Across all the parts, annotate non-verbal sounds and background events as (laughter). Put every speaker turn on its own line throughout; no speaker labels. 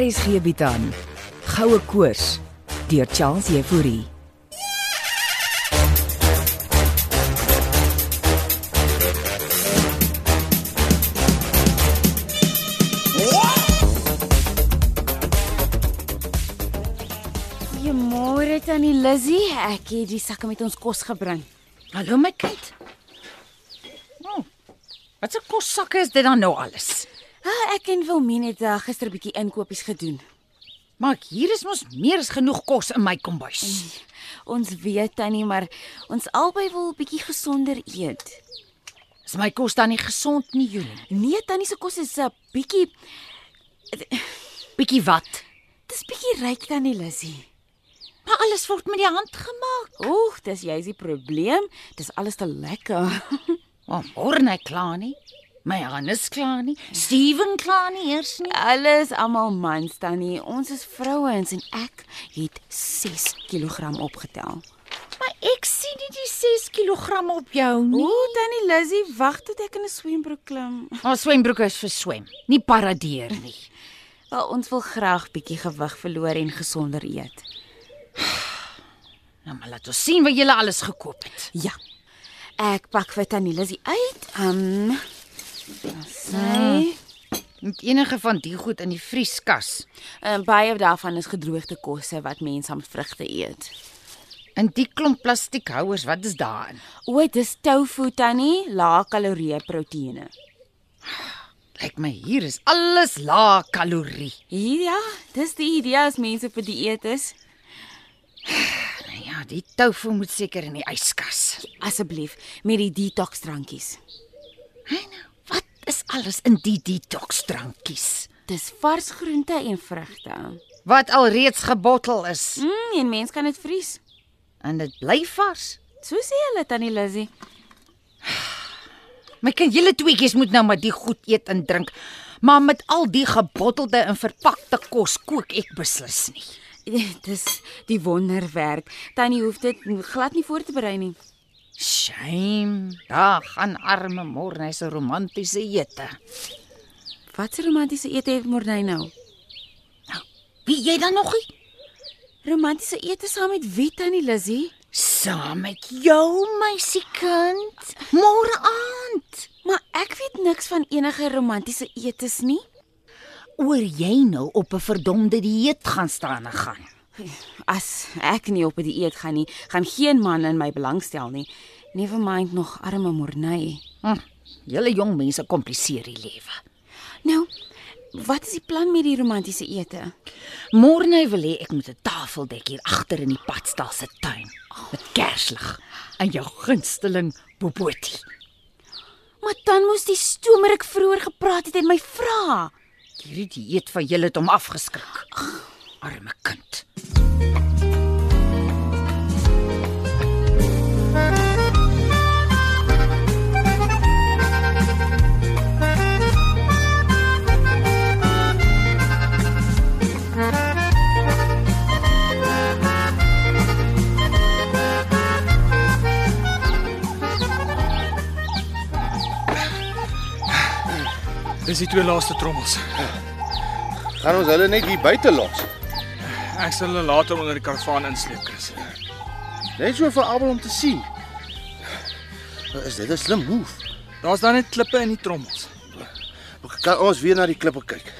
RSG bied aan Goue Koors deur Charles Euphorie.
Goeiemôre tannie Lizzy. Ek het die sakke met ons kos gebring.
Hallo my kind. Oh, wat 'n kossakke is dit dan nou alles?
Ah, ek en Wilmien het uh, gister 'n bietjie inkopies gedoen.
Maar hier is mos meer as genoeg kos in my kombuis.
Ons weet tannie, maar ons albei wil 'n bietjie gesonder eet.
Is my kos dan nie gesond nie, Julie?
Nee, tannie se kos is 'n bietjie
Bietjie wat?
dis bietjie ryk tannie Lizzy.
Maar alles word met die hand gemaak.
Oeg, dis jy's die probleem. Dis alles te lekker. (laughs)
Maar môre hy klaar nie. My Hannes klaar nie. Steven klaar nie eers nie.
Alles almal mans tannie. Ons is vrouens en ek het 6 kg opgetel.
Maar ek sien nie die 6 kg op jou
Ooh, tannie Lizzy, wag tot ek in 'n swembroek klim.
Ons swembroeke is vir swem, nie paradeer nie.
Wel, ons wil graag bietjie gewig verloor en gesonder eet.
Nou maar laat ons sien wat jy alles gekoop het.
Ja. Ek pak vir Tannie Lizzy uit. Um sy
Met enige van die goed in die vrieskas.
uh, baie daarvan is gedroogde kosse wat mense aan vrugte eet.
In die klomp plastiekhouers, wat is daarin?
O, dis tofu Tannie, lae kalorieë proteïene.
Lyk my hier is alles lae kalorie.
Hier ja, dis die idee as mense vir dieet is.
Nou ja, die tofu moet seker in die yskas.
Asseblief met die detox drankies.
Hey nou, wat is alles in die detox drankies?
Dis vars groente en vrugte.
Wat alreeds gebottel is
Mm, en mens kan dit vries.
en dit bly vars.
So sê hulle Tannie Lizzy.
My kind, julle tweeetjies moet nou maar die goed eet en drink. Maar met al die gebottelde en verpakte kos kook ek beslis nie.
Nee, Dis die wonderwerk. Tannie hoef dit glad nie voor te berei nie.
Shame. Daar gaan arme Morne se romantiese ete.
Wat 'n romantiese ete het Morney nou?
Wie jy dan nog nie?
Romantiese ete saam met wie tannie Lizzy?
Saam met jou, meisiekind. Môre aand.
Maar ek weet niks van enige romantiese etes nie.
Oor jy nou op 'n verdomde dieet gaan staan en gaan.
As ek nie op 'n dieet gaan nie, gaan geen man in my belangstel nie. Never mind nog arme Morney.
Hm, julle jong mense kompliseer die lewe.
Nou, wat is die plan met die romantiese ete?
Môre wil hê ek moet 'n tafeldek hier agter in die padstal se tuin met kerslig en jou gunsteling bobotie.
Maar dan moes die stomer ek vroeër gepraat het en my vra.
Hierdie dieet van julle het hom afgeskrik. Arme kind.
Dis die twee laaste trommels.
Gaan ons hulle net hier buite los.
Ek sal hulle later onder die karavaan insleep, Chris.
Net so vir Abel om te sien. Is dit 'n slim move?
Daar's dan net klippe in die trommels.
Kan ons weer na die klippe kyk?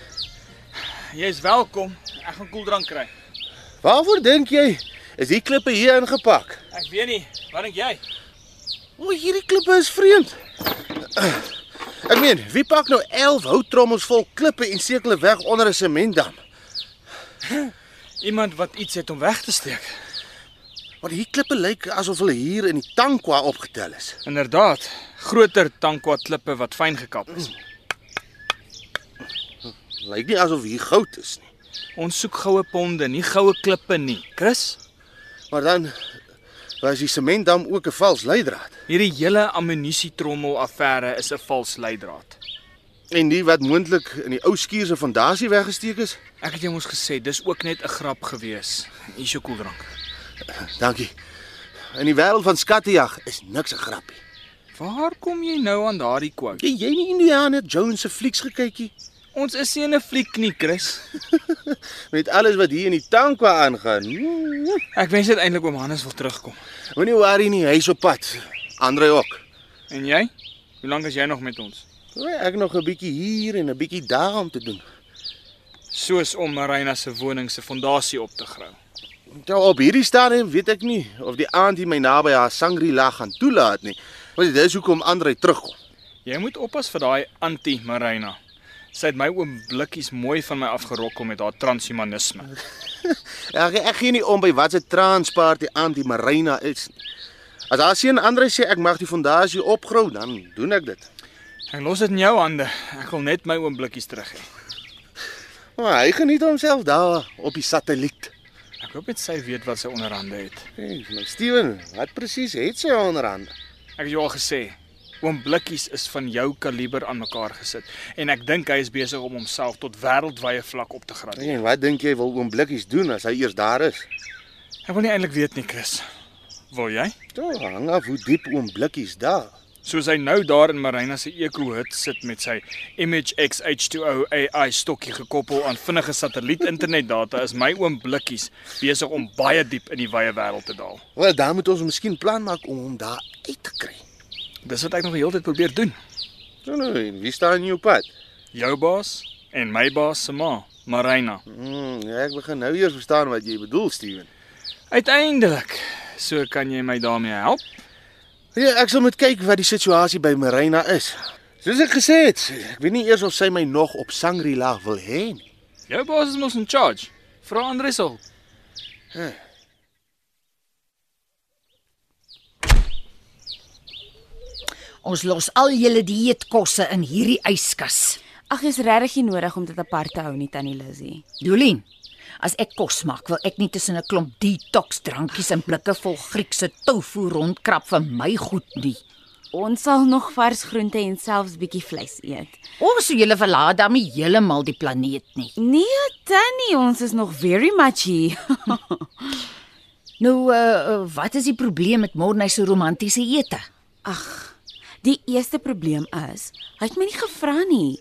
Jy's welkom. Ek gaan koeldrank kry.
Waarvoor dink jy is die klippe hier ingepak?
Ek weet nie, wat dink jy?
O, hierdie klippe is vreemd. Ek meen, wie pak nou 11 houttrommels vol klippe en steek hulle weg onder 'n sementdam?
Iemand wat iets het om weg te steek.
Want hierdie klippe lyk asof hulle hier in die tankwa opgetel is.
Inderdaad, groter tankwa klippe wat fyn gekap is.
Lyk nie asof hier goud is nie.
Ons soek goue ponde, nie goue klippe nie. Chris,
Maar dan was die sementdam ook 'n vals leidraad.
hierdie hele ammunisietrommel affære is 'n vals leidraad.
En die wat moontlik in die ou skuur se fondasie weggesteek is?
Ek het jou mos gesê, dis ook net 'n grap gewees. Hier is jou koeldrank.
Dankie. In die wêreld van skattejag is niks 'n grappie.
Waar kom jy nou aan daardie quote?
Jy jy nie (laughs) Indiana Jones se flieks gekykie?
Ons is nie in 'n fliek nie, Chris.
Met alles wat hier in die tankwa aangaan.
Ek wens dit eintlik oom Hannes wil terugkom.
Moenie worry nie, hy's op pad. Andre ook.
En jy? Hoe lank is jy nog met ons?
O, Ek nog 'n bietjie hier en 'n bietjie daar om te doen.
Soos om Marina se woning se fondasie op te grou.
Tel op hierdie stadium weet ek nie of die aand hier my naby haar Shangri-La gaan toelaat nie. Want dit is hoekom Andre terugkom.
Jy moet oppas vir daai anti-Marina. Sy het my oom blikkies mooi van my afgerokkel met haar transhumanisme.
Ja, Ek ek gee nie om by wat se transpaart die aand die Marina is nie. As haar seun Andre sê ek mag die fondasie opgrou, dan doen ek dit.
Ek los dit in jou hande. Ek wil net my oom blikkies terug hê.
Maar hy geniet homself daar op die satelliet.
Ek hoop net sy weet wat sy onderhande het.
Hey, maar Steven, wat presies het sy onderhand?
Ek het jou al gesê, oom Blikkies is van jou kaliber aan mekaar gesit en ek dink hy is besig om homself tot wêreldwye vlak op te gradeer.
En wat dink jy wil oom Blikkies doen as hy eers daar is?
Ek wil nie eintlik weet nie, Chris. Wil jy?
Toe hang af hoe diep oom Blikkies daar.
Soos hy nou daar in Marina se ekohut sit met sy MHX H2O AI stokkie gekoppel aan vinnige satelliet internetdata, is my oom Blikkies besig om baie diep in die wye wêreld te daal.
Wel, dan moet ons miskien plan maak om hom daar uit te kry.
Dis wat ek nog die hele tyd probeer doen.
Nou nou, en wie staan in jou pad?
Jou baas en my baas se ma, Marina.
Hmm, ek begin nou eers verstaan wat jy bedoel, Steven.
Uiteindelik, so kan jy my daarmee help.
Ja, ek sal moet kyk wat die situasie by Marina is. Soos ek gesê het, ek weet nie eers of sy my nog op Shangri-La wil hê nie.
Jou baas is mos in charge. Vra Andrei se hulp.
Ons los al julle dieetkosse in hierdie yskas.
Ag, jy's regtig nie nodig om dit apart te hou nie, Tannie Lizzy.
Jolien, as ek kos maak, wil ek nie tussen 'n klomp detox drankies en blikke vol Griekse tofu rondkrap vir my goed nie.
Ons sal nog vars groente en selfs bietjie vleis eet.
Ons sou julle verlaat dan nie heeltemal die planeet nie.
Nee, Tannie, ons is nog very much hier. (laughs)
Nou, uh, wat is die probleem met Morney se romantiese ete?
Ag, die eerste probleem is, hy het my nie gevra nie.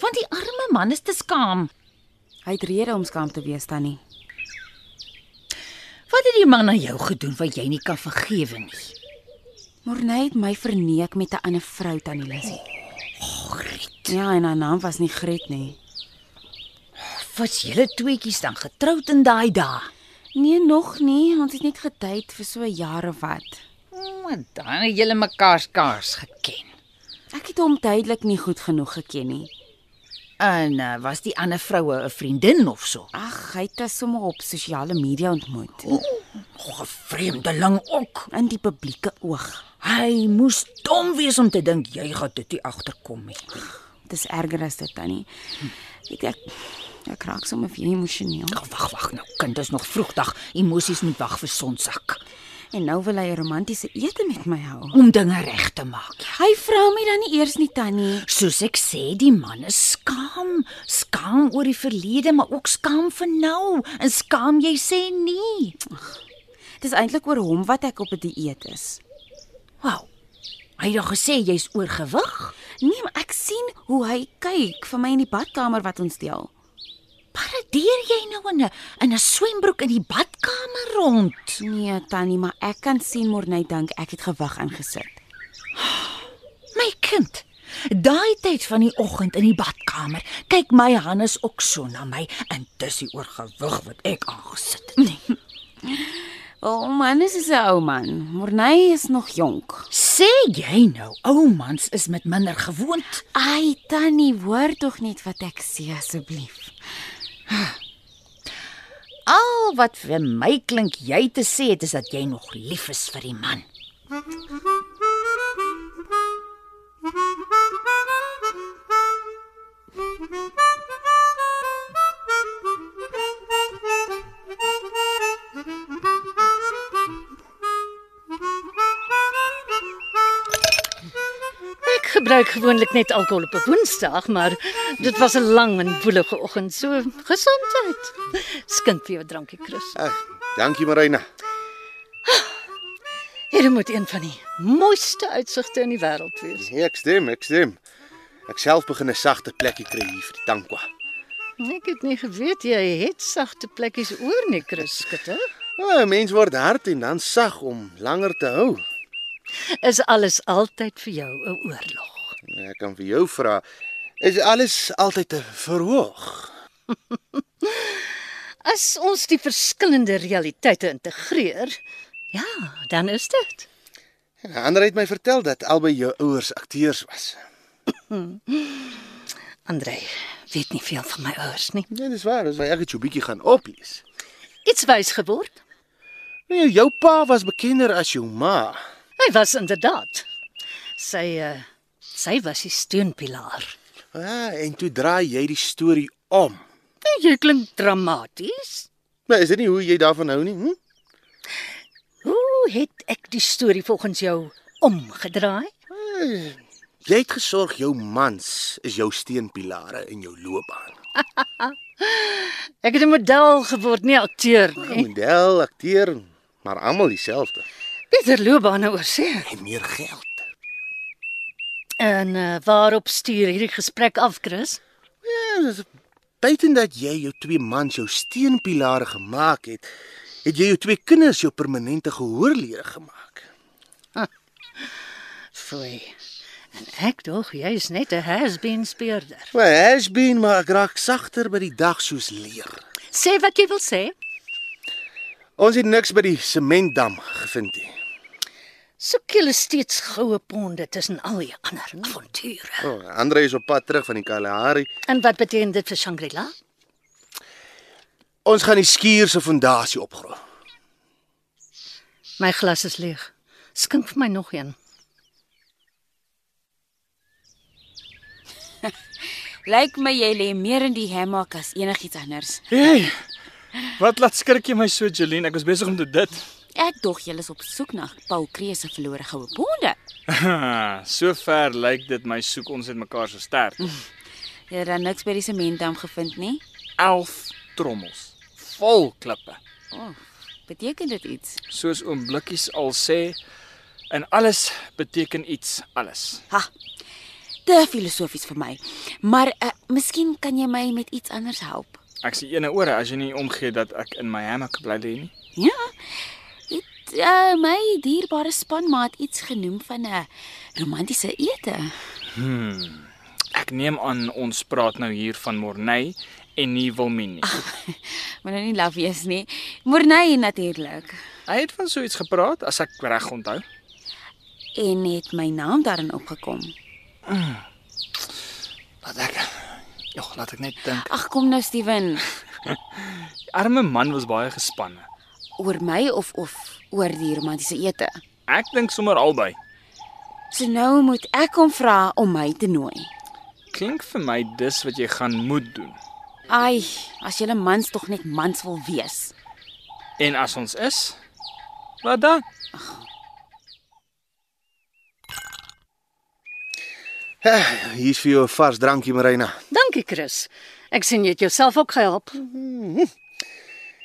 Want die arme man is te skaam.
Hy het rede om skaam te wees, Tannie.
Wat het die man aan jou gedoen wat jy nie kan vergewe nie?
Morney nou het my verneek met 'n ander vrou, Tannie Lissy. Gret. Ja, en haar naam was nie Gret nie.
Was julle tweeetjies dan getroud in daai dae?
Nee, nog nie. Ons het net gedate vir so 'n jaar of wat.
Maar dan het julle mekaar skaars geken.
Ek het hom duidelik nie goed genoeg geken nie.
En uh, was die ander vroue 'n vriendin of so?
Ag, hy het as sommer op sosiale media ontmoet.
Nog 'n vreemdeling ook.
In die publieke oog.
Hy moes dom wees om te dink jy gaan dit nie agterkom nie.
Dis erger as dit tannie. Weet jy, ek ek raak sommer weer emosioneel.
Ag, Wag, wag nou, kind, dis nog vroegdag. Emosies moet wag vir sonsak
En nou wil hy 'n romantiese ete met my hou.
om dinge reg te maak.
Hy vra my dan nie eers nie tannie.
Soos ek sê, die man is skaam, skaam oor die verlede, maar ook skaam vir nou. En skaam jy sê nee.
Dis eintlik oor hom wat ek op 'n dieet is.
Wow. Hy het al gesê jy's oorgewig.
Nee, maar ek sien hoe hy kyk vir my in die badkamer wat ons deel.
Paradeer jy nou in 'n in 'n swembroek in die badkamer rond?
Nee tannie, maar ek kan sien Morney dink ek het gewig aangesit.
My kind, daai tyd van die oggend in die badkamer, kyk my Hannes ook so na my en dis die oorgewig wat ek aangesit het. Nee.
O oh, man, dis is 'n ou man. Morney is nog jonk.
Sê jy nou, ou mans is met minder gewoond.
Ai tannie, hoor tog net wat ek sê asseblief.
Al wat vir my klink jy te sê het is dat jy nog lief is vir die man.
Ek gebruik gewoonlik net alkohol op 'n Woensdag, maar dit was 'n lang en woelige oggend, so gesondheid. Skink vir jou drankie, Chris.
Ag, dankie Marina.
Hierdie moet een van die mooiste uitsigte in die wêreld wees.
Nee, ek stem, ek stem. Ek self begin 'n sagte plekkie kry hier vir die tankwa.
Ek het nie geweet jy het sagte plekkies oor nie, Chris Skutte.
O, 'n mens word hard en dan sag om langer te hou.
Is alles altyd vir jou 'n oorlog?
Nee, Ek kan vir jou vra, is alles altyd te verhoog?
As ons die verskillende realiteite integreer, ja, dan is dit.
Ja, Ander het my vertel dat albei jou ouers akteurs was.
Andrej weet nie veel van my ouers nie.
Nee, dis waar, dis waar ek het jou bietjie gaan oplees.
Iets wys geword.
Nee, jou pa was bekender as jou ma.
Hy was inderdaad. Sy uh, sy was die steunpilaar.
Ah, en toe draai jy die storie om.
Nou, Jy klink dramaties.
Maar is dit nie hoe jy daarvan hou nie? Hm?
Hoe het ek die storie volgens jou omgedraai?
Jy het gesorg jou mans is jou steunpilare in jou loopbaan.
Ek het 'n model geword, nie akteur nie.
Model, akteur, maar almal dieselfde.
Beter loopbane oorsee.
En meer geld.
En uh, waarop stuur hierdie gesprek af, Chris?
Ja, dis buiten dat jy jou twee mans jou steunpilare gemaak het, het jy jou twee kinders jou permanente gehoorlede gemaak.
Foei. En ek dog jy is net 'n has-been speurder.
Well, has been maar ek raak sagter by die dag soos leer.
Sê wat jy wil sê.
Ons het niks by die sementdam gevind nie.
Soek julle steeds goue ponde tussen al die ander avonture.
O, oh, Andre is op pad terug van die Kalahari.
En wat beteken dit vir Shangri-La?
Ons gaan die skuur se fondasie opgrawe.
My glas is leeg. Skink vir my nog een.
Lyk my jy lê meer in die hammock as enigiets anders.
Hey. Wat laat skrik jy my so, Jeline? Ek was besig om te dit.
Ek dog jy is op soek na Paul Kreese se verlore goue bonde.
(laughs) so ver lyk dit my soek ons het mekaar so sterk.
Jy het dan niks by die sementdam gevind nie.
11 trommels vol klippe.
O, oh, beteken dit iets?
Soos oom Blikkies al sê, en alles beteken iets, alles.
Ha. Te filosofies vir my. Maar uh, miskien kan jy my met iets anders help.
Ek sien ene ore as jy nie omgee dat ek in my hammock bly lê nie.
Ja. Het uh, my dierbare spanmaat iets genoem van 'n romantiese ete?
Ek neem aan ons praat nou hier van Morney en nie Wilmien nie.
Maar nou nie laf wees nie. Morney natuurlik.
Hy het van so iets gepraat as ek reg onthou.
En het my naam daarin opgekom.
Laat ek Ja, laat ek net dink.
Ag kom nou Steven,
Die arme man was baie gespanne.
oor my of of oor die romantiese ete.
Ek dink sommer albei.
So nou moet ek hom vra om my te nooi.
Klink vir my dis wat jy gaan moet doen.
Ai, as julle mans tog net mans wil wees.
En as ons is, wat dan?
Eh, Hier's vir jou 'n vars drankie, Marina.
Dankie, Chris. Ek sien jy het jouself ook gehelp.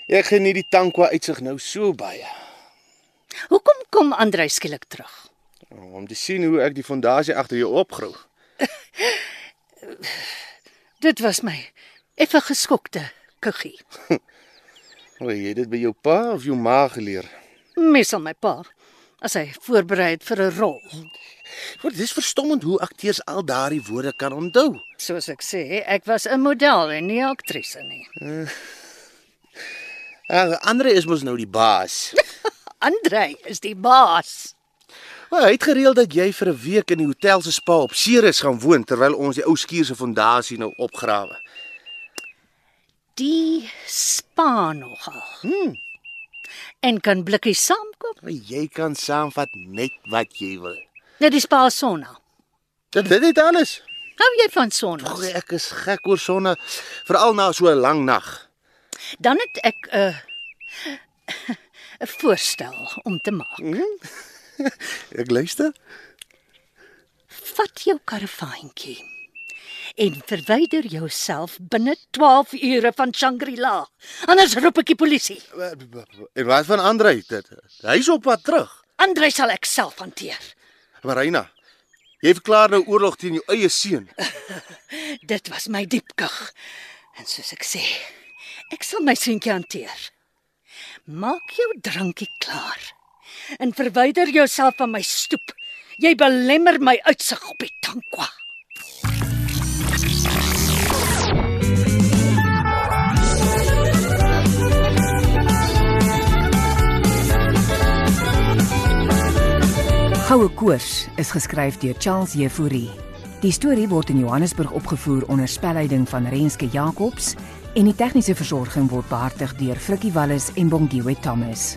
Ek geniet die tankwa uitsig nou so baie
Hoekom kom Andrej skielik terug?
om te sien hoe ek die fondasie agter jou opgrou.
Dit was my effe geskokte kuggie.
O, jy het dit by jou pa of jou ma geleer.
Mes aan my pa as hy voorberei het vir 'n rol.
O, dis verstommend hoe akteurs al daardie woorde kan onthou.
Soos ek sê, ek was 'n model en nie 'n aktrise nie.
Uh, Andre is mos nou die baas.
Andrej is die baas.
O, hy het gereël dat jy vir 'n week in die hotel se spa op Ceres gaan woon terwyl ons die ou skuur se fondasie nou opgrawe.
Die spa nogal. Hmm. En kan blikkie saamkoop.
Maar jy kan saamvat net wat jy wil.
Net die spa sonna.
Dit dit het alles.
Hou jy van
O,
sonna?
ek is gek oor sonne, veral na so 'n lang nag.
Dan het ek 'n (laughs) 'n voorstel om te maak.
Ek luister.
Vat jou karavaantjie en verwyder jouself binne 12 ure van Shangri-La. Anders roep ek die polisie.
En wat van Andre? Dit- Hy's op pad terug.
Andrej sal ek self hanteer.
Marina, Jy verklaar nou oorlog teen jou eie seun.
Dit was my diep kug. En soos ek sê, ek sal my seentjie hanteer. Maak jou drankie klaar en verwyder jouself van my stoep. Jy belemmer my uitsig op die tankwa.
Goue Koors is geskryf deur Charles Jefouri. Die storie word in Johannesburg opgevoer onder spelleiding van Renske Jacobs en die tegniese versorging word behartig deur Frikkie Wallis en Bongwe Thomas.